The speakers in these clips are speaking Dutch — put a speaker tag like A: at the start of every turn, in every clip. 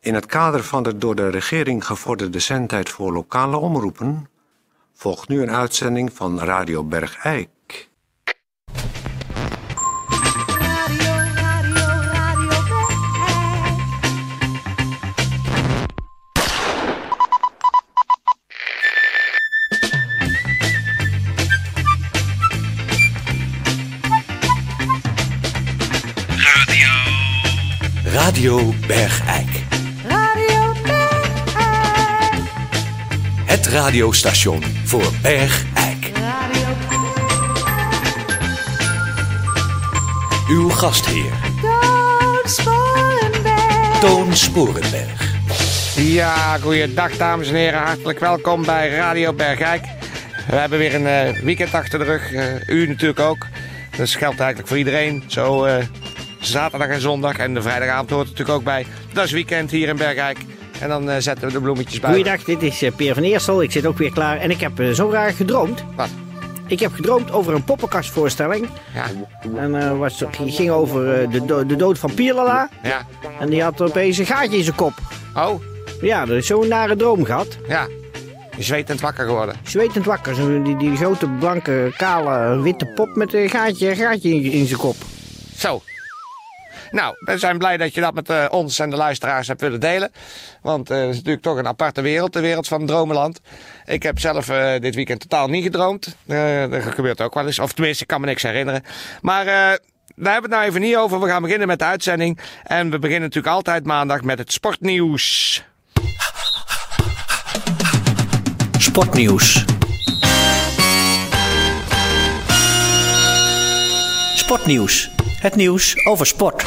A: In het kader van de door de regering gevorderde zendtijd voor lokale omroepen volgt nu een uitzending van Radio Bergijk.
B: Radio, radio, radio Bergijk.
C: Radio Bergijk.
B: Radio Bergijk.
C: Het radiostation voor Bergijk.
B: Radio
C: Uw gastheer,
B: Toon Sporenberg.
C: Toon Sporenberg.
D: Ja, goeiedag dames en heren. Hartelijk welkom bij Radio Bergijk. We hebben weer een eh, weekend achter de rug. Eh, u natuurlijk ook. Dat geldt eigenlijk voor iedereen. Zo eh, zaterdag en zondag en de vrijdagavond hoort er natuurlijk ook bij. Dat is weekend hier in Bergijk. En dan eh, zetten we de bloemetjes bij.
E: Goeiedag, dit is eh, Peer van Eersel. Ik zit ook weer klaar en ik heb eh, zo raar gedroomd.
D: Wat?
E: Ik heb gedroomd over een poppenkastvoorstelling.
D: Ja,
E: En eh was, die ging over eh, de, do- de dood van Pierlala.
D: ja.
E: En die had opeens een gaatje in zijn kop.
D: Oh,
E: Ja, dat is zo'n nare droom gehad.
D: ja. Je Zwetend wakker geworden.
E: Zwetend wakker, zo, die, die grote, blanke, kale, witte pop met een gaatje, een gaatje in, in zijn kop.
D: Zo. Nou, we zijn blij dat je dat met eh, ons en de luisteraars hebt willen delen. Want eh, het is natuurlijk toch een aparte wereld, de wereld van Dromenland. Ik heb zelf eh, dit weekend totaal niet gedroomd. Eh dat gebeurt ook wel eens. Of tenminste, ik kan me niks herinneren. Maar eh, daar hebben we het nou even niet over. We gaan beginnen met de uitzending. En we beginnen natuurlijk altijd maandag met het sportnieuws.
C: Sportnieuws. Sportnieuws. Het nieuws over sport.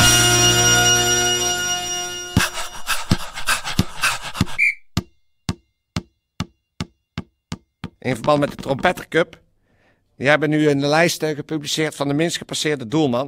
D: in verband met de Trompetter Cup. Die hebben nu een lijst eh, gepubliceerd van de minst gepasseerde doelman.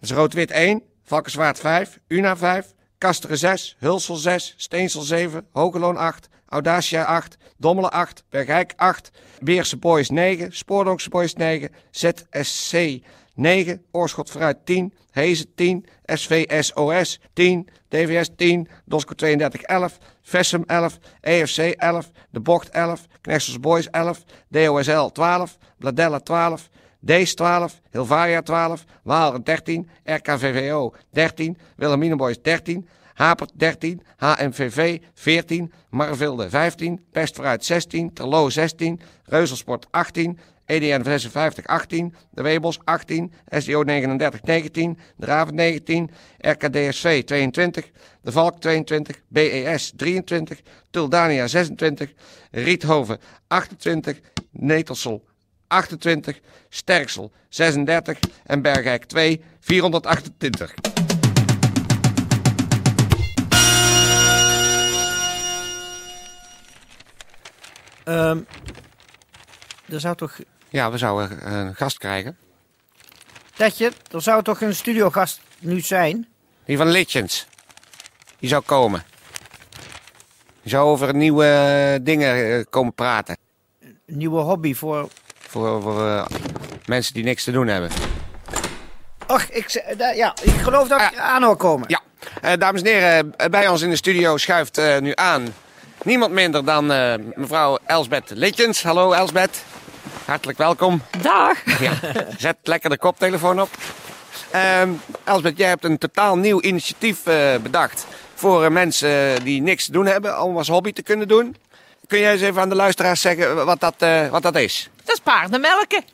D: Dat is Rood-Wit 1, Valkenswaard 5, Una 5, Kasteren 6, Hulsel 6, Steensel 7, Hogeloon 8, Audacia 8, Dommelen 8, Bergijk 8, Beerse Boys 9, Spoordonkse Boys 9, ZSC 9, Oorschot Vooruit 10, Hezen 10, SVSOS 10, DVS 10, Dosco 32 11, Vessem E 11, EFC 11, De Bocht 11, Knexels Boys 11, DOSL 12, Bladella 12, Dees 12, Hilvaria 12, Waalre 13, RKVVO 13, Wilhelminenboys 13, Hapert 13, HMVV 14, Marvilde 15, Pest vooruit 16, Terlo 16, Reuzelsport E 18, EDN 56 18, De Webels 18, SDO 39 19, De Raven 19, RKDSV 22, De Valk 22, BES 23, Tuldania 26, Riethoven 28, Netelsel 28, Sterksel 36 en Bergijk 2 428.
E: Er zou toch...
D: Ja, we zouden eh, een gast krijgen.
E: Tetje, er zou toch een studiogast nu zijn?
D: Die van Litjens. Die zou komen. Die zou over nieuwe eh, dingen eh, komen praten.
E: Een nieuwe hobby voor...
D: Voor, voor eh, mensen die niks te doen hebben.
E: Och, ik, ze- da- ja, ik geloof dat ik
D: Ah.
E: aan hoor komen.
D: Ja, eh, dames en heren, eh, bij ons in de studio schuift eh, nu aan niemand minder dan eh, mevrouw Elsbeth Litjens. Hallo Elsbeth, hartelijk welkom. Dag. Ja, zet lekker de koptelefoon op. Ehm, Elsbeth, jij hebt een totaal nieuw initiatief eh, bedacht voor eh, mensen die niks te doen hebben om als hobby te kunnen doen. Kun jij eens even aan de luisteraars zeggen wat dat, eh, wat dat is?
F: Dat is paardenmelken.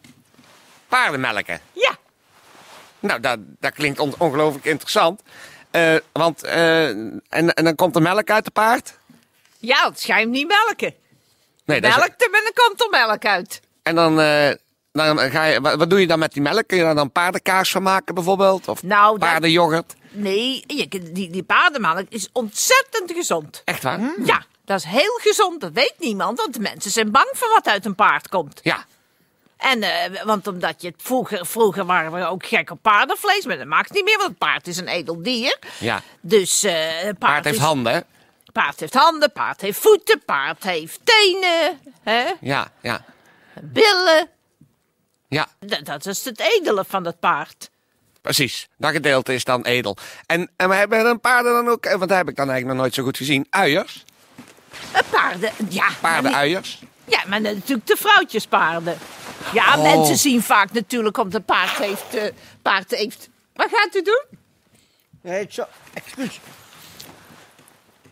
D: Paardenmelken.
F: Ja.
D: Nou, dat, dat klinkt on- ongelooflijk interessant. Eh, want, eh, en, en dan komt de melk uit de paard?
F: Ja, het schijnt niet melken.
D: Nee, dat is-
F: Melkt hem en dan komt er melk uit.
D: En dan, eh, dan ga je, wat, wat doe je dan met die melk? Kun je daar dan paardenkaas van maken bijvoorbeeld? Of
F: Nou, dat-
D: paardenyoghurt?
F: Nee, je, die, die paardenmelk is ontzettend gezond.
D: Echt waar?
F: Ja, dat is heel gezond. Dat weet niemand, want de mensen zijn bang voor wat uit een paard komt.
D: Ja.
F: En, eh, want omdat je het vroeger, vroeger waren we ook gek op paardenvlees, maar dat maakt niet meer, want het paard is een edel dier.
D: Ja.
F: Dus eh paard,
D: Paard heeft
F: is-
D: handen, hè?
F: Paard heeft handen, paard heeft voeten, paard heeft tenen, hè,
D: Ja, ja.
F: billen.
D: Ja,
F: Dat, dat is het edele van het paard.
D: Precies, dat gedeelte is dan edel. En, en we hebben een paarden dan ook, eh, want dat heb ik dan eigenlijk nog nooit zo goed gezien, uiers.
F: Eh, Paarden, ja. maar niet-
D: Paardenuiers.
F: Ja, maar natuurlijk de vrouwtjespaarden. Ja,
D: Oh.
F: mensen zien vaak natuurlijk, omdat een paard heeft, eh, paard heeft... Wat gaat u doen?
E: Nee, ik zal... Excuus.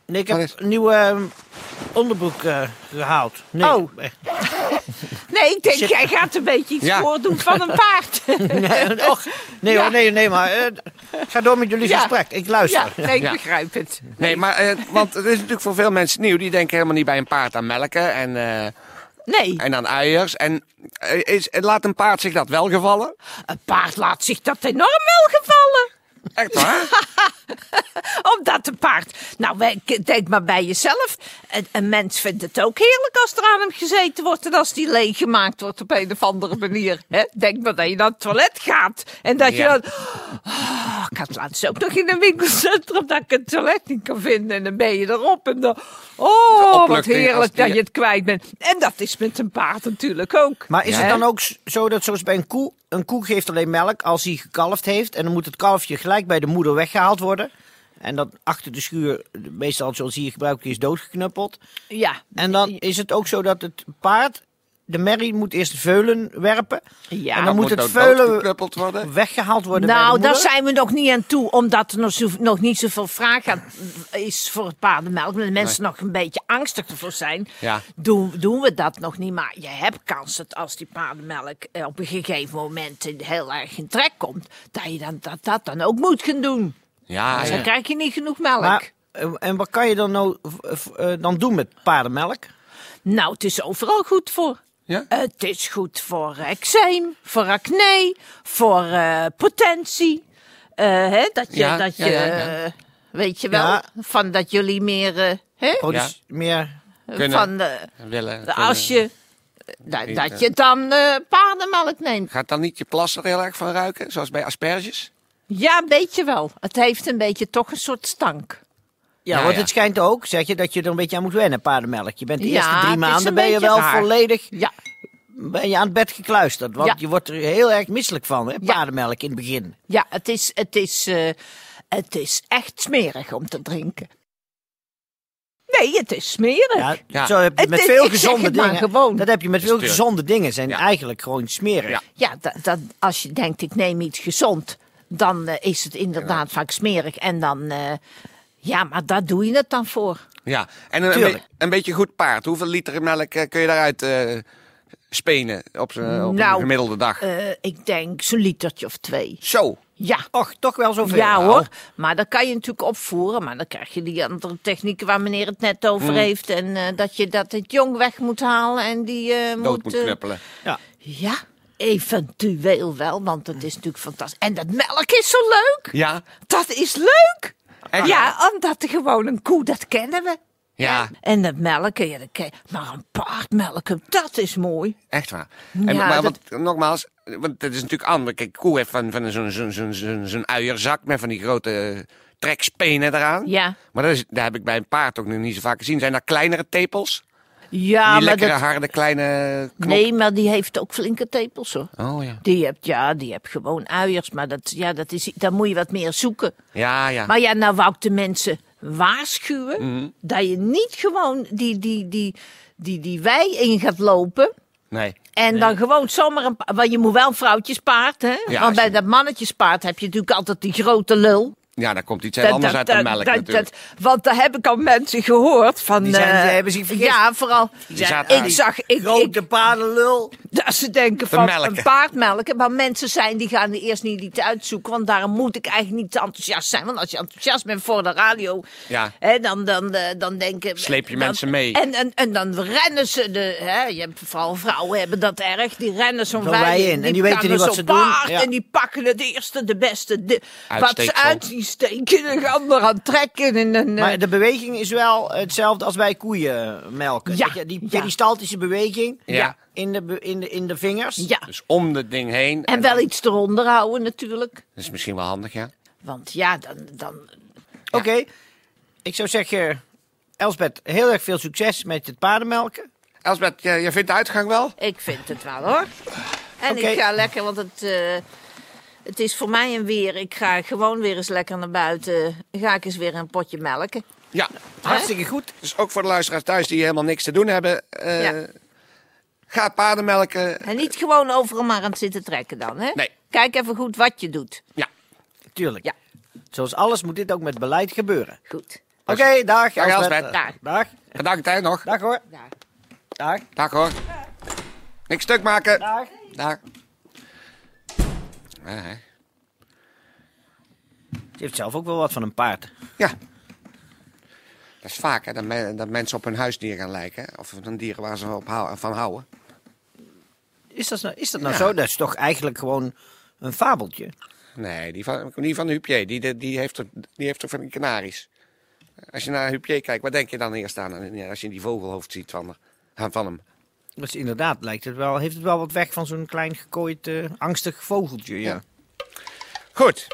E: Nee, ik
D: Wat
E: heb
D: is-
E: een nieuw ehm, onderbroek eh, gehaald. Nee, eh,
F: Oh.
E: echt.
F: Nee, ik denk, jij gaat een beetje iets
D: Ja.
F: voordoen van een paard.
E: Nee, och, nee,
F: Ja.
E: hoor, nee, nee, maar eh, ga door met jullie
F: Ja.
E: gesprek. Ik luister.
F: ja, nee, ik
D: Ja.
F: begrijp het.
D: Nee, maar, eh, want het is natuurlijk voor veel mensen nieuw. Die denken helemaal niet bij een paard aan melken en, eh,
F: Nee,
D: en aan uiers. En eh, is, laat een paard zich dat wel gevallen?
F: een paard laat zich dat enorm wel gevallen.
D: Echt waar?
F: Omdat een paard... Nou, wij- k- denk maar bij jezelf. Een, een mens vindt het ook heerlijk als er aan hem gezeten wordt... en als die leeggemaakt wordt op een of andere manier. hè. Denk maar dat je naar het toilet gaat. En dat
D: Ja.
F: je dan... Oh, ik had laatst ook nog in een winkelcentrum... dat ik het toilet niet kan vinden. En dan ben je erop en dan... Oh, wat
D: opluchting als
F: heerlijk
D: die-
F: dat je het kwijt bent. En dat is met een paard natuurlijk ook.
E: Maar is
F: hè.
E: het dan ook s- zo dat zoals bij een koe, een koe geeft alleen melk als hij gekalfd heeft. En dan moet het kalfje gelijk bij de moeder weggehaald worden. En dat achter de schuur, meestal zoals hier gebruikt, is doodgeknuppeld.
F: Ja,
E: En dan is het ook zo dat het paard, de merrie, moet eerst veulen werpen.
F: Ja.
E: en dan moet het
D: ook
E: veulen
D: doodgeknuppeld worden?
E: weggehaald worden bij de
F: Nou, daar
E: moeder.
F: zijn we nog niet aan toe, omdat er nog, zo, nog niet zoveel vraag aan is voor het paardenmelk. Maar de mensen nog een beetje angstig ervoor zijn,
D: Ja.
F: doen, doen we dat nog niet. Maar je hebt kans dat als die paardenmelk eh, op een gegeven moment in- heel erg in trek komt, dat je dan, dat, dat dan ook moet gaan doen.
D: Ja,
F: Dus
D: Ah, ja.
F: dan krijg je niet genoeg melk.
E: Maar, eh, en wat kan je dan, nou, v- v- eh, dan doen met paardenmelk?
F: Nou, het is overal goed voor.
D: Ja?
F: Het is goed voor eczeem, voor acne, voor eh, potentie. Eh, hè, dat je,
D: Ja,
F: dat
D: ja,
F: je
D: ja, ja.
F: eh, weet je wel,
E: Ja.
F: van dat jullie meer, eh, hè,
E: Produce- Oh, dus Meer
D: Kunnen.
F: van de,
D: Willen,
F: de- als je, da-
D: Eten.
F: dat je dan eh, paardenmelk neemt.
D: Gaat dan niet je plas er heel erg van ruiken, zoals bij asperges?
F: Ja, een beetje wel. Het heeft een beetje toch een soort stank.
E: Ja,
D: Ja,
E: want
D: ja.
E: het schijnt ook, zeg je, dat je er een beetje aan moet wennen, paardenmelk. Je bent de
F: Ja,
E: eerste
F: het
E: drie
F: is
E: maanden
F: een
E: ben je
F: beetje
E: wel
F: raar.
E: volledig
F: Ja,
E: ben je aan het bed gekluisterd. Want
F: Ja.
E: je wordt er heel erg misselijk van, hè,
F: Ja.
E: paardenmelk in het begin.
F: ja het, is, het, is, eh, het is echt smerig om te drinken. Nee, het is smerig.
E: Ja,
D: Ja.
E: Zo heb je
F: Het
E: met
F: is-
E: veel
F: ik zeg
E: gezonde
F: het maar
E: dingen.
F: gewoon.
E: Dat heb je met veel
D: tuurlijk.
E: gezonde dingen, zijn
D: Ja.
E: eigenlijk gewoon smerig.
D: Ja.
F: Ja, dat, dat, als je denkt, ik neem iets gezond, dan eh, is het inderdaad vaak smerig. En dan, eh, ja, maar daar doe je het dan voor.
D: Ja. En een,
E: Tuurlijk.
D: be- een beetje goed paard. Hoeveel liter melk eh, kun je daaruit eh, spenen op, z'n- op
F: Nou,
D: een gemiddelde dag?
F: Eh, ik denk zo'n litertje of twee.
D: Zo.
F: Ja.
E: Och, toch wel zoveel.
F: Ja
E: Nou.
F: hoor, maar dat kan je natuurlijk opvoeren. Maar dan krijg je die andere technieken waar meneer het net over
D: Mm.
F: heeft. En eh, dat je dat het jong weg moet halen en die eh,
D: Dood moet
F: eh,
D: knuppelen.
E: Ja.
F: ja, eventueel wel, want het is natuurlijk fantastisch. En dat melk is zo leuk.
D: Ja.
F: Dat is leuk.
D: Echt?
F: Ja, omdat er gewoon een koe, dat kennen we.
D: Ja.
F: En dat melken, ja, dat ken maar een paard melken, dat is mooi.
D: Echt waar. En,
F: Ja,
D: maar
F: dat-
D: wat, nogmaals, want het is natuurlijk anders. Kijk, koe heeft van, van zo'n zo'n zo'n zo'n zo'n uierzak met van die grote eh, trekspenen eraan.
F: Ja.
D: Maar dat, is, dat heb ik bij een paard ook nog niet zo vaak gezien. Zijn daar kleinere tepels?
F: Ja,
D: die
F: Ah, maar
D: lekkere,
F: dat,
D: harde, kleine knop?
F: nee, maar die heeft ook flinke tepels hoor.
D: Oh ja.
F: Die hebt, ja, die hebt gewoon uiers, maar dat, ja, dat is, daar moet je wat meer zoeken.
D: Ja, ja. Mhm.
F: Maar ja, nou wou ik de mensen waarschuwen dat je niet gewoon die, die, die, die, die wei in gaat lopen.
D: Nee.
F: En dan gewoon zomaar een pa- Want je moet wel een vrouwtjespaard, hè?
D: Ja,
F: Want bij
D: zeker.
F: dat mannetjespaard heb je natuurlijk altijd die grote lul.
D: Ja, daar komt iets heel anders uit dan melk
F: dat-
D: natuurlijk.
F: dat- want daar heb ik al mensen gehoord van...
E: Die zijn-
F: eh,
E: die hebben zich vergist.
F: Ja, vooral.
D: Die zaten aan
F: ik
D: die
F: zag... Ik, ik,
E: Grote paardenlul.
F: dat ze denken
D: Te
F: van
D: melken.
F: een paard melken. Maar mensen zijn die gaan die eerst niet iets uitzoeken. Want daarom moet ik eigenlijk niet te enthousiast zijn. Want als je enthousiast bent voor de radio,
D: Ja.
F: hè, dan, dan, eh, dan denken...
D: Sleep je
F: dan-
D: mensen mee.
F: En, en, en dan rennen ze de... Hè, je hebt, vooral vrouwen hebben dat erg. Die rennen zo'n
E: Zo'n
F: wei
E: wei in. En die weten
F: gaan
E: niet
F: er
E: wat
F: zo'n
E: ze doen.
F: paard
E: Ja.
F: En die pakken het eerste, de beste. de- wat ze
D: Uitsteeksel.
F: uit die steken. En gaan er aan trekken. En, en, eh,
E: Maar de beweging is wel hetzelfde als bij koeien melken.
F: Ja.
E: Weet je, Die
F: Ja.
E: peristaltische beweging
D: Ja.
E: in, de, be- in, de, in de vingers.
F: ja.
D: Dus om dat ding heen.
F: En wel iets eronder houden natuurlijk.
D: Dat is misschien wel handig, ja.
F: Want ja, dan... dan
E: Oké. Ik zou zeggen, Elsbeth, heel erg veel succes met het paardenmelken.
D: Elsbeth, jij, jij vindt de uitgang wel?
F: Ik vind het wel hoor. En
E: Oké.
F: ik ga lekker, want het, eh, Het is voor mij een weer. Ik ga gewoon weer eens lekker naar buiten. Ga ik eens weer een potje melken.
D: Ja,
E: Hartstikke goed.
D: dus ook voor de luisteraars thuis die helemaal niks te doen hebben. eh,
F: Ja.
D: Ga paardenmelken.
F: En niet gewoon overal maar aan het zitten trekken dan, hè?
D: Nee.
F: Kijk even goed wat je doet.
D: Ja.
E: Tuurlijk.
F: Ja.
E: Zoals alles moet dit ook met beleid gebeuren.
F: Goed.
E: Oké, dag.
D: Dag,
E: Elsbeth.
D: Elsbeth.
E: Dag. Dag.
F: Dag.
D: Bedankt hè nog.
E: Dag hoor.
F: Daar.
E: Dag.
D: Dag hoor. Niks stuk maken.
E: Dag.
D: Dag. Ja, hè.
E: Ze heeft zelf ook wel wat van een paard.
D: Ja. Dat is vaak hè, dat, men- dat mensen op hun huisdier gaan lijken. hè, Of een dier waar ze op hou- van houden.
E: Is dat nou, is dat nou zo? Dat is toch eigenlijk gewoon een fabeltje?
D: Nee, die van, die van Hupier, die, die, die, heeft er, die heeft er van die kanaries. Als je naar Hupier kijkt, wat denk je dan eerst aan eh, als je die vogelhoofd ziet van, haar- van hem?
E: Dus inderdaad, lijkt het wel, heeft het wel wat weg van zo'n klein gekooid, eh, angstig vogeltje. Ja.
D: Ja. Goed,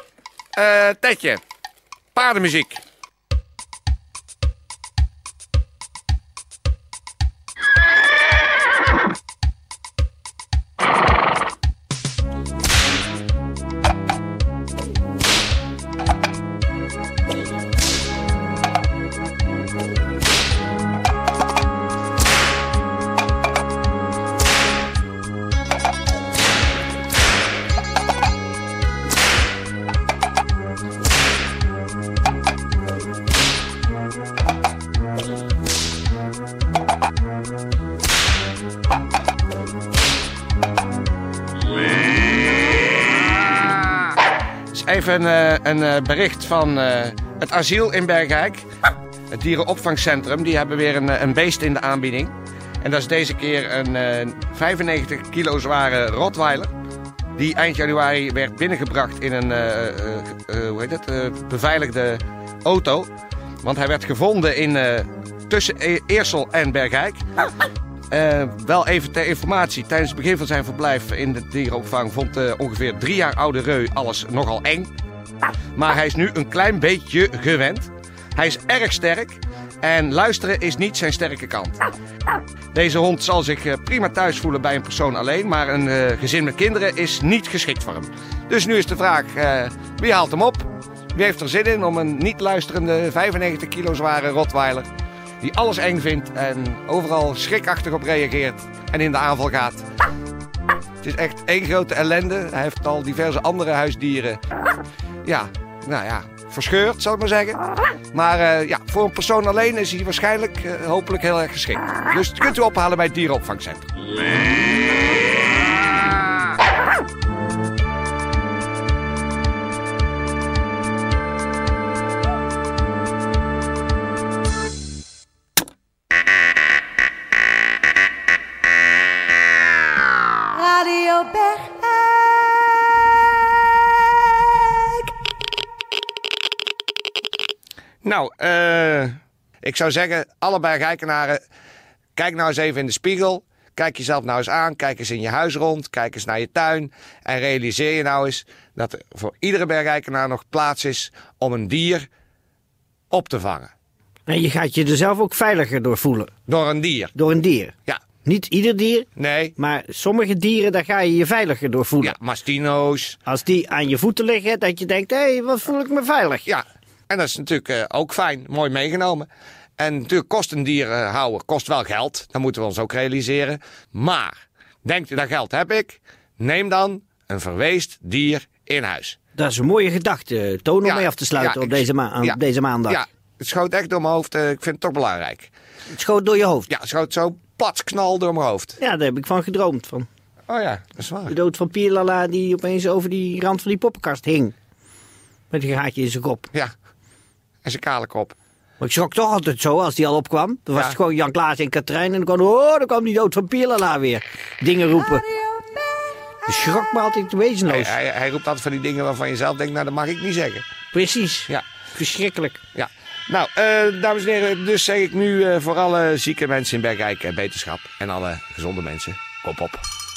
D: Eh Tetje, paardenmuziek. is even eh, een eh, bericht van eh, het asiel in Bergijk. Het dierenopvangcentrum. Die hebben weer een, eh, een beest in de aanbieding. En dat is deze keer een eh, 95 kilo zware Rottweiler. Die eind januari werd binnengebracht in een eh, eh, eh, hoe heet het, eh, beveiligde auto. Want hij werd gevonden in, eh, tussen E- Eersel en Bergijk. Eh, wel even ter informatie. Tijdens het begin van zijn verblijf in de dierenopvang vond de ongeveer drie jaar oude Reu alles nogal eng. Maar hij is nu een klein beetje gewend. Hij is erg sterk en luisteren is niet zijn sterke kant. Deze hond zal zich eh, prima thuis voelen bij een persoon alleen, maar een eh, gezin met kinderen is niet geschikt voor hem. Dus nu is de vraag: eh, wie haalt hem op? Wie heeft er zin in om een niet luisterende 95 kilo zware Rottweiler, die alles eng vindt en overal schrikachtig op reageert en in de aanval gaat? Het is echt één grote ellende. Hij heeft al diverse andere huisdieren ja, nou ja, verscheurd, zal ik maar zeggen. Maar eh, ja, voor een persoon alleen is hij waarschijnlijk eh, hopelijk heel erg geschikt. Dus dat kunt u ophalen bij het dierenopvangcentrum.
B: Radio Bergijk.
D: Nou, eh, ik zou zeggen, allebei geikenaren, kijk nou eens even in de spiegel. Kijk jezelf nou eens aan, kijk eens in je huis rond, kijk eens naar je tuin. En realiseer je nou eens dat er voor iedere bergrijkenaar nog plaats is om een dier op te vangen.
E: En je gaat je er zelf ook veiliger door voelen.
D: Door een dier,
E: Door een dier.
D: ja.
E: Niet ieder dier,
D: Nee,
E: maar sommige dieren, daar ga je je veiliger door voelen.
D: ja, mastino's,
E: Als die aan je voeten liggen, dat je denkt, hé, hey, wat voel ik me veilig.
D: Ja, en dat is natuurlijk eh, ook fijn, mooi meegenomen. En natuurlijk kost een dier eh, houden, kost wel geld. Dat moeten we ons ook realiseren. Maar, denkt u dat geld heb ik? Neem dan een verweest dier in huis.
E: Dat is een mooie gedachte, Toon, om
D: Ja,
E: mee af te sluiten
D: ja,
E: op
D: ik-
E: deze, ma- aan
D: ja,
E: deze maandag.
D: Ja, het schoot echt door mijn hoofd. eh, ik vind het toch belangrijk.
E: Het schoot door je hoofd.
D: Ja, het schoot zo pats knal door mijn hoofd.
E: Ja, daar heb ik van gedroomd. Van
D: Oh ja, dat is waar.
E: de dood van Pierlala die opeens over die rand van die poppenkast hing. Met een gaatje in zijn kop.
D: Ja, en zijn kale kop.
E: Maar ik schrok toch altijd zo als die al opkwam. Dan was
D: Ja.
E: het gewoon Jan Klaas en Katrijn. En dan kwam, oh, dan kwam die dood van Pierlala weer. Dingen roepen. Ik schrok me altijd
D: Hij,
E: wezenloos.
D: hij, hij roept altijd van die dingen waarvan je zelf denkt, nou dat mag ik niet zeggen.
E: Precies.
D: Ja.
E: Verschrikkelijk.
D: Ja. Nou, eh, dames en heren, dus zeg ik nu eh, voor alle zieke mensen in Bergrijk eh, beterschap. En alle gezonde mensen, kop op.